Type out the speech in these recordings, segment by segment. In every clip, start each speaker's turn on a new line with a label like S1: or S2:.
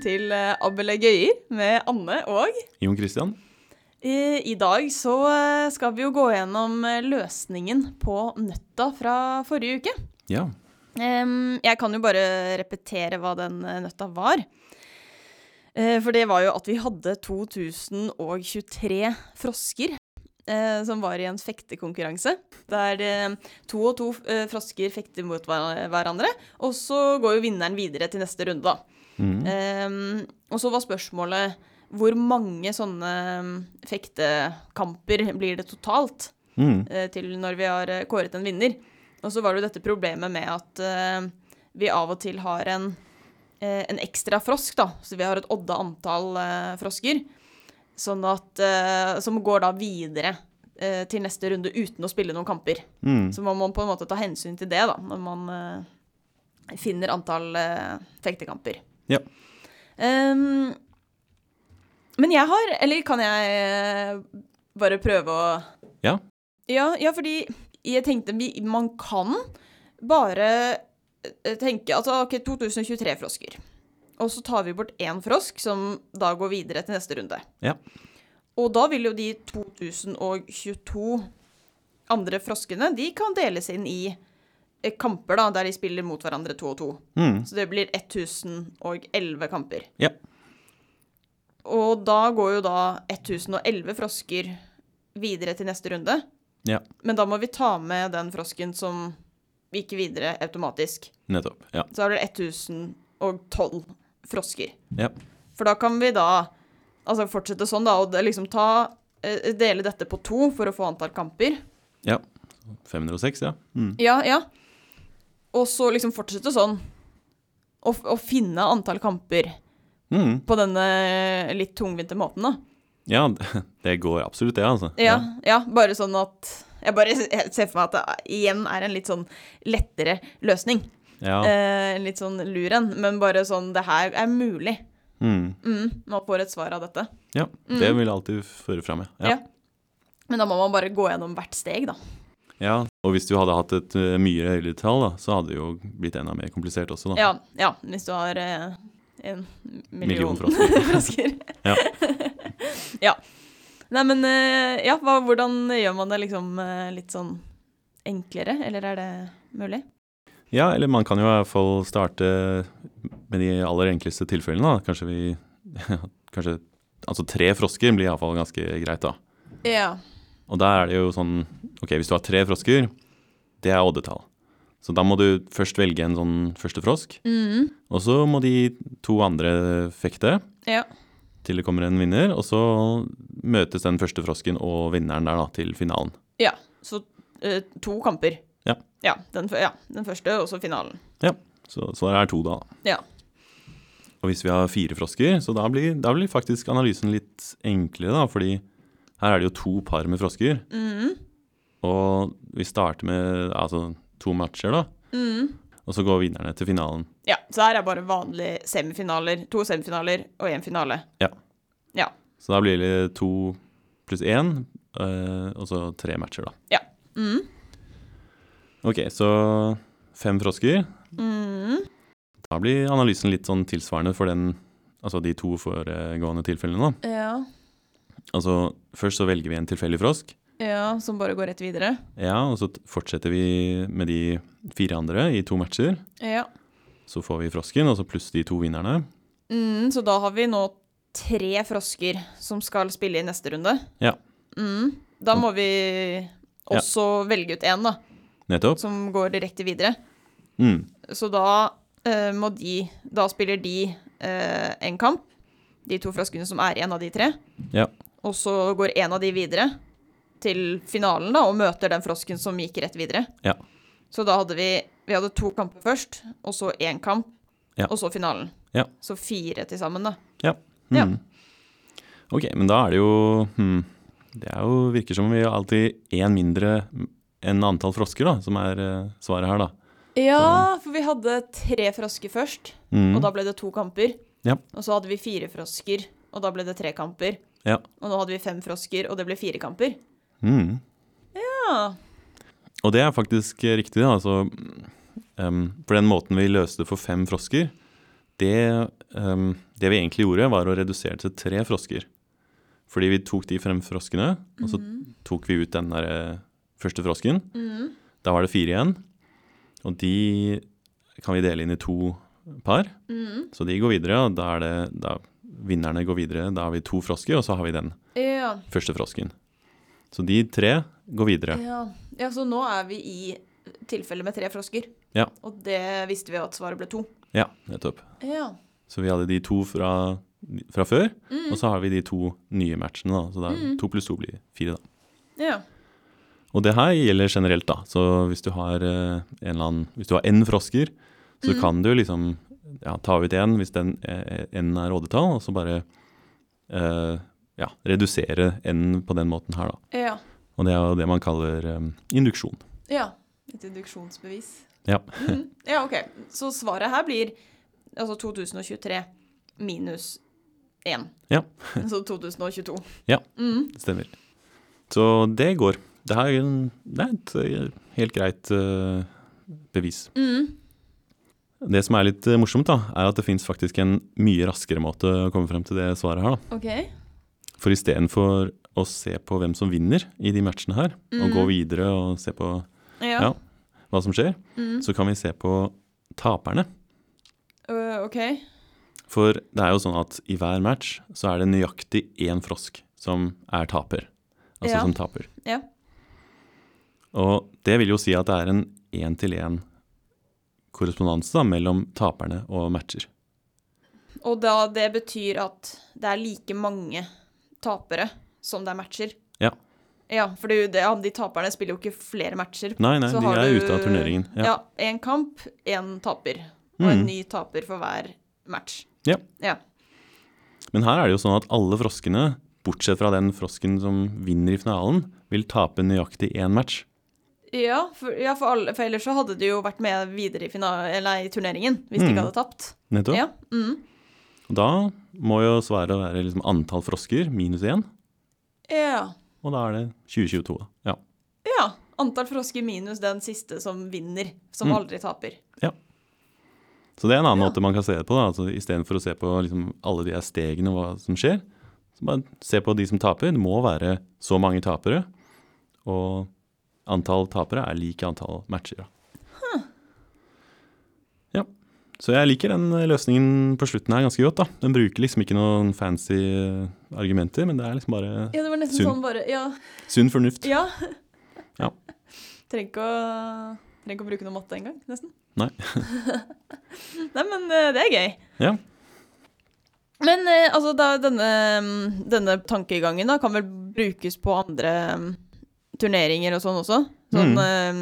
S1: til eh, Abel Gøyer med Anne og
S2: Jon Christian?
S1: eh, I dag så eh, skal vi jo gå gjennom eh, løsningen på nøtta fra forrige uke.
S2: Ja.
S1: Em, jeg kan jo bare repetere hva den eh, nøtta var. Eh, for det var jo at vi hadde 2023 frosker eh, som var i en fektekonkurranse. Der eh, to og to eh, frosker fekter mot hver- hverandre, og så går jo vinneren videre til neste runde, da.
S2: Mhm.
S1: Ehm, og så var spørsmålet hvor mange sånne mm, fektekamper blir det totalt
S2: Mhm.
S1: eh, til når vi har eh, kåret en vinner? Og så var det jo dette problemet med at eh, vi av og til har en, eh, en ekstra frosk, da. Så vi har et odda antall eh, frosker sånn at, eh, som går da videre eh, til neste runde uten å spille noen kamper.
S2: Mhm.
S1: Så må man på en måte ta hensyn til det da, når man eh, finner antall eh, fektekamper.
S2: Ja.
S1: Ehm, men jeg har Eller kan jeg eh, bare prøve å
S2: Ja.
S1: ja, ja, fordi jeg tenkte vi, man kan bare eh, tenke Altså, OK, 2023 frosker. Og så tar vi bort én frosk, som da går videre til neste runde.
S2: Ja.
S1: Og da vil jo de 2022 andre froskene, de kan deles inn i eh, kamper, da, der de spiller mot hverandre to og to.
S2: Mhm.
S1: Så det blir 1011 kamper.
S2: Ja.
S1: Og da går jo da 1011 frosker videre til neste runde.
S2: Ja.
S1: Men da må vi ta med den frosken som gikk videre automatisk.
S2: Nettopp. Ja.
S1: Så da blir det 1012 frosker.
S2: ja.
S1: For da kan vi da altså fortsette sånn, da, og det liksom ta eh, Dele dette på to for å få antall kamper.
S2: ja. 506, ja. Mhm.
S1: Ja, ja. Og så liksom fortsette sånn. Å, f- å finne antall kamper
S2: Mhm.
S1: på denne litt tungvinte måten, da.
S2: Ja, det- det går absolutt, det, altså.
S1: Ja, ja, bare sånn at Jeg bare s- jeg ser for meg at det er- igjen er en litt sånn lettere løsning.
S2: Ja. ja.
S1: Eh, litt sånn lur en, men bare sånn Det her er mulig.
S2: Mhm.
S1: Mm, man får et svar av dette.
S2: ja. Det vil jeg alltid føre fram, ja.
S1: mm. Ja. Men da må man bare gå gjennom hvert steg, da.
S2: ja. Og hvis du hadde hatt et eh, mye høyere tall, da, så hadde det jo blitt enda mer komplisert også, da.
S1: Ja, ja hvis du har eh, en million,
S2: Million frosker.
S1: frosker.
S2: Ja.
S1: ja. Nei, men eh, ja, hva, hvordan gjør man det liksom eh, litt sånn enklere, eller er det mulig?
S2: Ja, eller man kan jo i hvert fall starte med de aller enkleste tilfellene. Da. Kanskje vi Kanskje Altså tre frosker blir iallfall ganske greit, da.
S1: Ja.
S2: Og der er det jo sånn Ok, hvis du har tre frosker, det er oddetall. Så da må du først velge en sånn første frosk,
S1: Mm,
S2: og så må de to andre fekte
S1: ja.
S2: til det kommer en vinner, og så møtes den første frosken og vinneren der da til finalen.
S1: ja. Så eh, to kamper.
S2: Ja.
S1: Ja den, fø- ja. den første, og så finalen.
S2: Så svaret er to, da.
S1: Ja.
S2: Og hvis vi har fire frosker, så da blir, da blir faktisk analysen litt enklere, da, fordi her er det jo to par med frosker.
S1: Mm,
S2: Og vi starter med altså, to matcher, da,
S1: mm.
S2: og så går vinnerne til finalen.
S1: Ja, så her er bare vanlige semifinaler. To semifinaler og én finale.
S2: Så da blir det to pluss én, eh, og så tre matcher, da.
S1: Mm.
S2: Ok, så fem frosker.
S1: Mm.
S2: Da blir analysen litt sånn tilsvarende for den, altså de to foregående tilfellene, da.
S1: Ja.
S2: Altså først så velger vi en tilfeldig frosk.
S1: ja, som bare går rett videre.
S2: Ja, og så t- fortsetter vi med de fire andre i to matcher.
S1: Ja.
S2: Så får vi frosken, og så pluss de to vinnerne.
S1: Mm, så da har vi nå tre frosker som skal spille i neste runde.
S2: Ja.
S1: Mm, da må vi også velge ut én, da,
S2: Nettopp.
S1: som går direkte videre.
S2: Mm.
S1: Så da eh, må de Da spiller de eh, en kamp, de to froskene som er igjen av de tre.
S2: Ja.
S1: Og så går en av de videre til finalen, da, og møter den frosken som gikk rett videre.
S2: Ja.
S1: Så da hadde vi Vi hadde to kamper først, og så én kamp,
S2: Ja.
S1: og så finalen.
S2: Ja.
S1: Så fire til sammen, da.
S2: Mm.
S1: Ja.
S2: Ok, men da er det jo hmm, Det er jo, virker som om vi har alltid én mindre enn antall frosker, da, som er eh, svaret her, da.
S1: Ja, for vi hadde tre frosker først,
S2: Mm.
S1: og da ble det to kamper.
S2: Ja.
S1: Og så hadde vi fire frosker, og da ble det tre kamper.
S2: Ja.
S1: Og nå hadde vi fem frosker, og det ble fire kamper.
S2: Mm.
S1: Ja.
S2: Og det er faktisk eh, riktig, da. Altså, mm, em, for den måten vi løste det for fem frosker, Det, ehm, det vi egentlig gjorde, var å redusere til tre frosker. Fordi vi tok de frem froskene, og så
S1: Mhm.
S2: tok vi ut den der eh, første frosken.
S1: Mhm.
S2: Da var det fire igjen. Og de kan vi dele inn i to par,
S1: Mhm.
S2: så de går videre. Og da er det da vinnerne går videre. Da har vi to frosker, og så har vi den
S1: Ja.
S2: første frosken. Så de tre går videre.
S1: Ja. ja, så nå er vi i tilfellet med tre frosker.
S2: Ja.
S1: Og det visste vi jo at svaret ble to.
S2: Ja, nettopp.
S1: Ja.
S2: Så vi hadde de to fra, fra før,
S1: Mm.
S2: og så har vi de to nye matchene. Da. Så da
S1: Mm.
S2: to pluss to blir fire, da.
S1: Ja.
S2: Og det her gjelder generelt, da. Så hvis du har eh, en eller annen Hvis du har n frosker, så
S1: Mm.
S2: kan du liksom ja, ta ut én hvis den eh, n er oddetall, og så bare eh, ja, redusere n på den måten her, da.
S1: Ja.
S2: Og det er jo det man kaller eh, induksjon.
S1: ja. Et induksjonsbevis.
S2: Ja.
S1: Mhm. Ja, OK. Så svaret her blir altså 2023 minus 1.
S2: Ja.
S1: så 2022.
S2: Ja.
S1: Mhm.
S2: Det Stemmer. Så det går. Det her er en- det er et eh, helt greit eh, bevis.
S1: Mhm.
S2: Det som er litt eh, morsomt, da, er at det fins faktisk en mye raskere måte å komme frem til det svaret her. Da.
S1: OK.
S2: For istedenfor å se på hvem som vinner i de matchene her, og gå
S1: Mhm.
S2: videre og se på
S1: Ja.
S2: Ja. hva som skjer,
S1: Mhm.
S2: så kan vi se på taperne.
S1: Øh, OK.
S2: For det er jo sånn at i hver match så er det nøyaktig én frosk som er taper. Altså
S1: Ja.
S2: som taper.
S1: Ja.
S2: Og det vil jo si at det er en én-til-én-korrespondanse mellom taperne og matcher.
S1: Og da det betyr at det er like mange tapere som det er matcher.
S2: Ja.
S1: Ja, for det, er jo det, ja, de taperne spiller jo ikke flere matcher.
S2: Nei, nei,
S1: Så
S2: de
S1: har
S2: er
S1: du-
S2: ute av turneringen. Ja.
S1: Ja, én kamp, én taper. Og en
S2: Mm.
S1: ny taper for hver match.
S2: Ja.
S1: Ja.
S2: Men her er det jo sånn at alle froskene, bortsett fra den frosken som vinner i finalen, vil tape nøyaktig én match.
S1: Ja, for, ja for, alle, for ellers så hadde de jo vært med videre i, fina- eller nei, i turneringen hvis de
S2: Mm.
S1: ikke hadde tapt.
S2: Nettopp.
S1: Ja. Mm.
S2: Og Da må jo svaret være liksom antall frosker minus én,
S1: ja.
S2: og da er det 2022. da. Ja.
S1: Ja. Antall frosker minus den siste som vinner, som
S2: Mm.
S1: aldri taper.
S2: Så det er en annen
S1: Ja.
S2: måte man kan se det på. da. Altså, Istedenfor å se på liksom, alle de her stegene og hva som skjer, så bare se på de som taper. Det må være så mange tapere, og antall tapere er lik antall matcher. Da. Ja. Så jeg liker den eh, løsningen på slutten her ganske godt. da. Den bruker liksom ikke noen fancy eh, argumenter, men det er liksom bare
S1: Ja, det var nesten
S2: Sunn.
S1: sånn bare Ja.
S2: sunn fornuft.
S1: Ja.
S2: Ja.
S1: Trenger ikke å Trenger ikke å bruke noe matte engang, nesten.
S2: Nei.
S1: Nei, men eh, det er gøy.
S2: Ja.
S1: Men eh, altså, da, denne, mm, denne tankegangen da, kan vel brukes på andre mm, turneringer og sånn også?
S2: Mm.
S1: Sånn eh,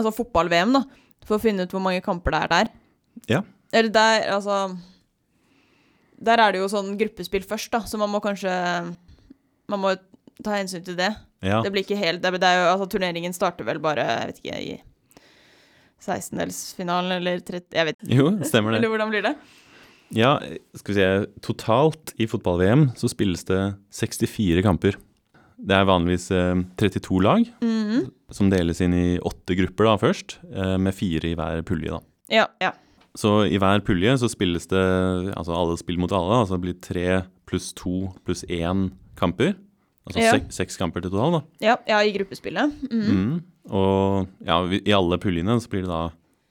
S1: altså fotball-VM, da. For å finne ut hvor mange kamper det er der.
S2: Ja.
S1: Eller der, altså Der er det jo sånn gruppespill først, da, så man må kanskje Man må ta hensyn til det.
S2: Ja.
S1: Det blir ikke helt det, det er jo, altså, Turneringen starter vel bare jeg vet ikke, i 16-delsfinalen eller 30 Jeg vet ikke.
S2: Jo, stemmer det.
S1: Eller hvordan blir det?
S2: Ja, skal vi se. Totalt i fotball-VM så spilles det 64 kamper. Det er vanligvis eh, 32 lag,
S1: Mhm.
S2: som deles inn i åtte grupper da først, eh, med fire i hver pulje. da.
S1: Ja. ja.
S2: Så i hver pulje så spilles det altså alle spill mot alle, altså det blir tre pluss to pluss én kamper. Altså
S1: Ja.
S2: seks, seks kamper til total, da.
S1: Ja, ja, i gruppespillet. Mhm.
S2: Mm. Og ja, vi- i alle puljene så blir det da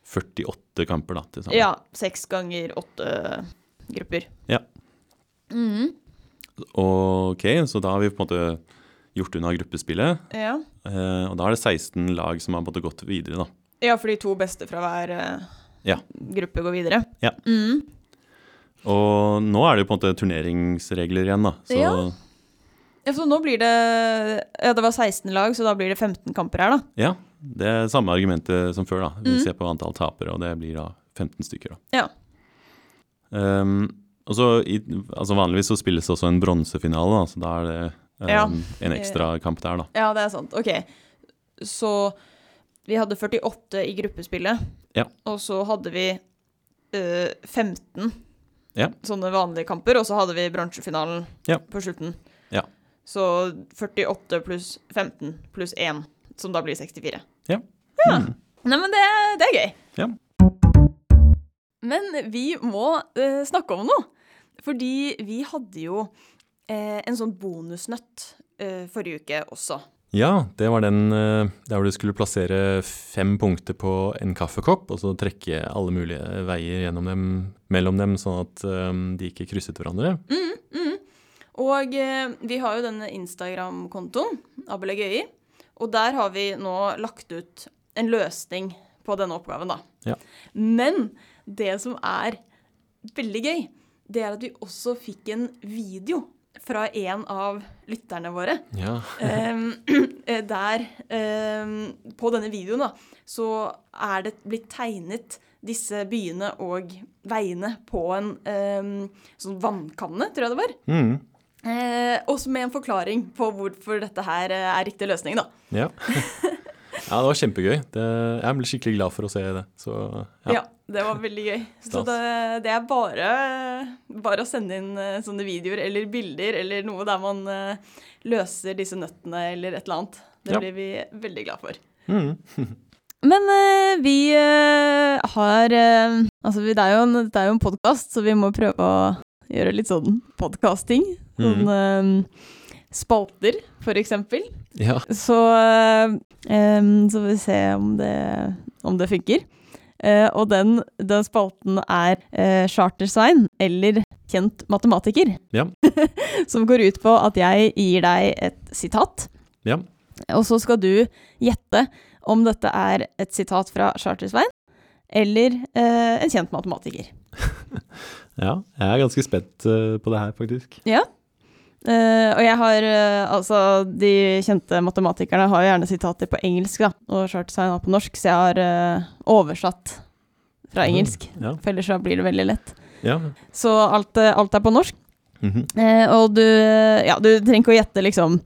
S2: 48 kamper da, til sammen.
S1: Ja. Seks ganger åtte grupper.
S2: Ja.
S1: Mhm.
S2: Og ok, så da har vi på en måte gjort unna gruppespillet.
S1: ja.
S2: Eh, og da er det 16 lag som har på en måte gått videre, da.
S1: ja, for de to beste fra hver eh,
S2: Ja.
S1: gruppe går videre.
S2: Ja.
S1: Mhm.
S2: Og nå er det jo på en måte turneringsregler igjen, da. Så ja,
S1: Ja. ja, så nå blir det Ja, det var 16 lag, så da blir det 15 kamper her, da.
S2: det er samme argumentet som før, da. Vi
S1: Mhm.
S2: ser på antall tapere, og det blir da 15 stykker, da.
S1: Ja.
S2: Ehm, og så i, altså vanligvis så spilles det også en bronsefinale, da, så da er det ehm,
S1: Ja. Eh.
S2: en ekstra kamp der, da.
S1: Ja, det er sant. Ok. Så vi hadde 48 i gruppespillet.
S2: Ja.
S1: Og så hadde vi eh, 15
S2: Ja.
S1: sånne vanlige kamper, og så hadde vi bransjefinalen
S2: Ja.
S1: på slutten.
S2: Ja.
S1: Så 48 pluss 15 pluss 1, som da blir 64.
S2: Ja.
S1: Ja.
S2: Mhm.
S1: Nei, men det, det er gøy. Men vi må eh, snakke om noe. Fordi vi hadde jo eh, en sånn bonusnøtt eh, forrige uke også.
S2: Ja, det var den eh, der hvor du skulle plassere fem punkter på en kaffekopp, og så trekke alle mulige veier gjennom dem, mellom dem, sånn at eh, de ikke krysset hverandre.
S1: Mm. Og eh, vi har jo denne Instagram-kontoen, Abelegøyi. Og der har vi nå lagt ut en løsning på denne oppgaven, da.
S2: Ja.
S1: Men det som er veldig gøy, det er at vi også fikk en video fra en av lytterne våre.
S2: Ja.
S1: Ehm, eh, der ehm, På denne videoen da, så er det blitt tegnet disse byene og veiene på en ehm, sånn vannkanne, tror jeg det var.
S2: Mm.
S1: Eh, også med en forklaring på hvorfor dette her eh, er riktig løsning, da.
S2: Ja. ja, det var kjempegøy. Det, jeg ble skikkelig glad for å se det. Så
S1: Ja.
S2: ja.
S1: det var veldig gøy. Så
S2: Stas.
S1: det, det er bare, bare å sende inn eh, sånne videoer eller bilder eller noe der man eh, løser disse nøttene eller et eller annet. Det
S2: Ja.
S1: blir vi veldig glad for.
S2: Mm.
S1: Men eh, vi eh, har eh, Altså, vi, det er jo en, dette er jo en podkast, så vi må prøve å gjøre litt sånn podkasting. Sånn
S2: Mm.
S1: eh, spalter, for eksempel.
S2: ja.
S1: Så, eh, em, så får vi se om det, om det funker. Eh, og den, den spalten er eh, Charter-Svein, eller Kjent matematiker.
S2: Ja.
S1: som går ut på at jeg gir deg et sitat.
S2: Ja.
S1: Og så skal du gjette om dette er et sitat fra Charter-Svein eller eh, en kjent matematiker.
S2: ja. Jeg er ganske spent eh, på det her, faktisk.
S1: Eh, og jeg har eh, altså De kjente matematikerne har jo gjerne sitater på engelsk, da, og Charter-Svein har på norsk, så jeg har eh, oversatt fra engelsk.
S2: Ja.
S1: For ellers så blir det veldig lett.
S2: ja.
S1: Så alt, eh, alt er på norsk.
S2: Mhm.
S1: Eh, og du, ja, du trenger ikke å gjette, liksom.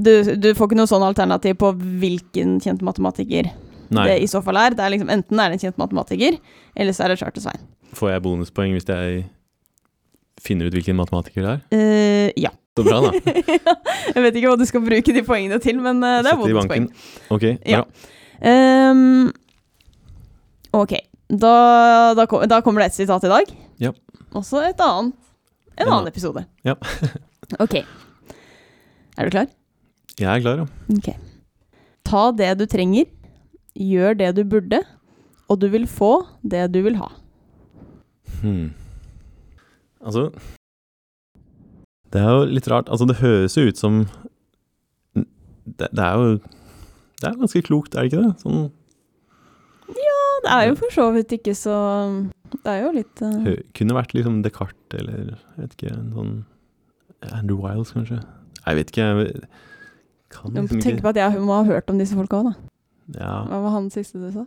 S1: Du, du får ikke noe sånn alternativ på hvilken kjent matematiker
S2: Nei.
S1: det i så fall er. Det er liksom, enten er det en kjent matematiker, eller så er det Charter-Svein.
S2: Får jeg bonuspoeng hvis jeg finner ut hvilken matematiker det er?
S1: Eh, ja.
S2: Så bra, da.
S1: Jeg vet ikke hva du skal bruke de poengene til, men eh, det er
S2: Sette i
S1: bonuspoeng.
S2: banken. Ok,
S1: Ja.
S2: bra.
S1: Ehm, ok, da, da, kom, da kommer det et sitat i dag.
S2: Ja.
S1: Også et annet. En
S2: En
S1: annen
S2: annen.
S1: episode.
S2: Ja.
S1: ok. Er du klar?
S2: Jeg er klar, ja.
S1: Ok. Ta det du trenger, gjør det du burde, og du vil få det du vil ha.
S2: Hmm. Altså Det er jo litt rart. Altså, det høres jo ut som Det, det er jo Det er ganske klokt, er det ikke det? Sånn
S1: Ja, det er jo for så vidt ikke så Det er jo litt eh,
S2: Hø- Kunne vært liksom Descartes eller jeg vet ikke, en sånn Andrew Wiles, kanskje. Jeg vet ikke. Jeg
S1: Jeg
S2: kan
S1: må
S2: liksom
S1: tenke
S2: ikke
S1: på at jeg må ha hørt om disse folka òg, da.
S2: ja.
S1: Hva var han siste du sa?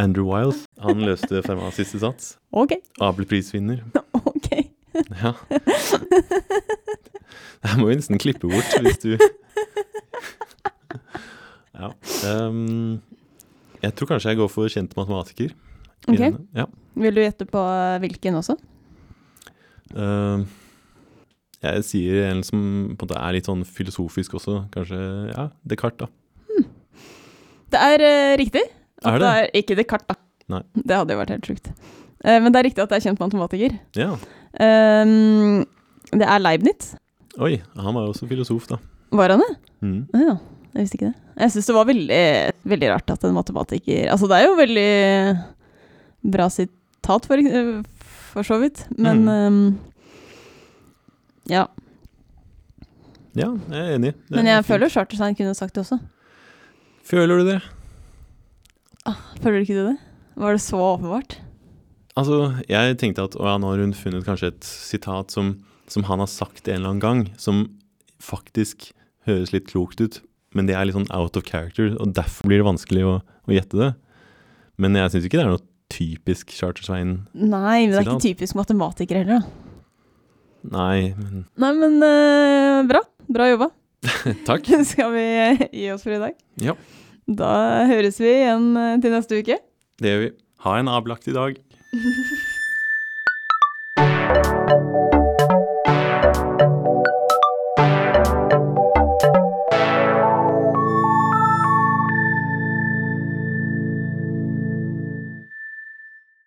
S2: Andrew Wiles. Han løste Fermats siste sats.
S1: Ok.
S2: Abelprisvinner.
S1: ok.
S2: Ja. Jeg må jo nesten klippe bort hvis du Ja. ehm, jeg tror kanskje jeg går for kjent matematiker. i
S1: Ok.
S2: denne. Ja.
S1: Vil du gjette på eh, hvilken også?
S2: Ehm, jeg sier en som på en måte er litt sånn filosofisk også, kanskje. Ja, Descartes, da.
S1: Det er eh, riktig. At
S2: Er det?
S1: er ikke Descartes, da.
S2: Nei.
S1: Det hadde jo vært helt sjukt. Eh, men det er riktig at det er kjent matematiker.
S2: Ja.
S1: Ehm, det er Leibniz.
S2: Oi, han var jo også filosof, da.
S1: Var han det?
S2: Mm.
S1: Å Ja, jeg visste ikke det. Jeg syns det var veldig, veldig rart at en matematiker Altså, det er jo veldig bra sitat, for, eks- for så vidt, men
S2: Mm.
S1: ehm, Ja.
S2: Ja, jeg er enig. Det er
S1: Men jeg
S2: fint.
S1: føler Charterstein kunne sagt det også.
S2: Føler du det?
S1: Føler ikke du det? Var det så åpenbart?
S2: Altså, jeg tenkte at å ja, nå har hun funnet kanskje et sitat som, som han har sagt en eller annen gang, som faktisk høres litt klokt ut, men det er litt sånn out of character, og derfor blir det vanskelig å, å gjette det. Men jeg syns ikke det er noe typisk Charter-Svein.
S1: Nei, men det er ikke typisk matematiker heller, da.
S2: Nei, men
S1: Nei, men eh, bra. Bra jobba.
S2: takk.
S1: Skal vi eh, gi oss for i dag?
S2: Ja.
S1: Da høres vi igjen eh, til neste uke.
S2: Det gjør vi. Ha en abelaktig dag.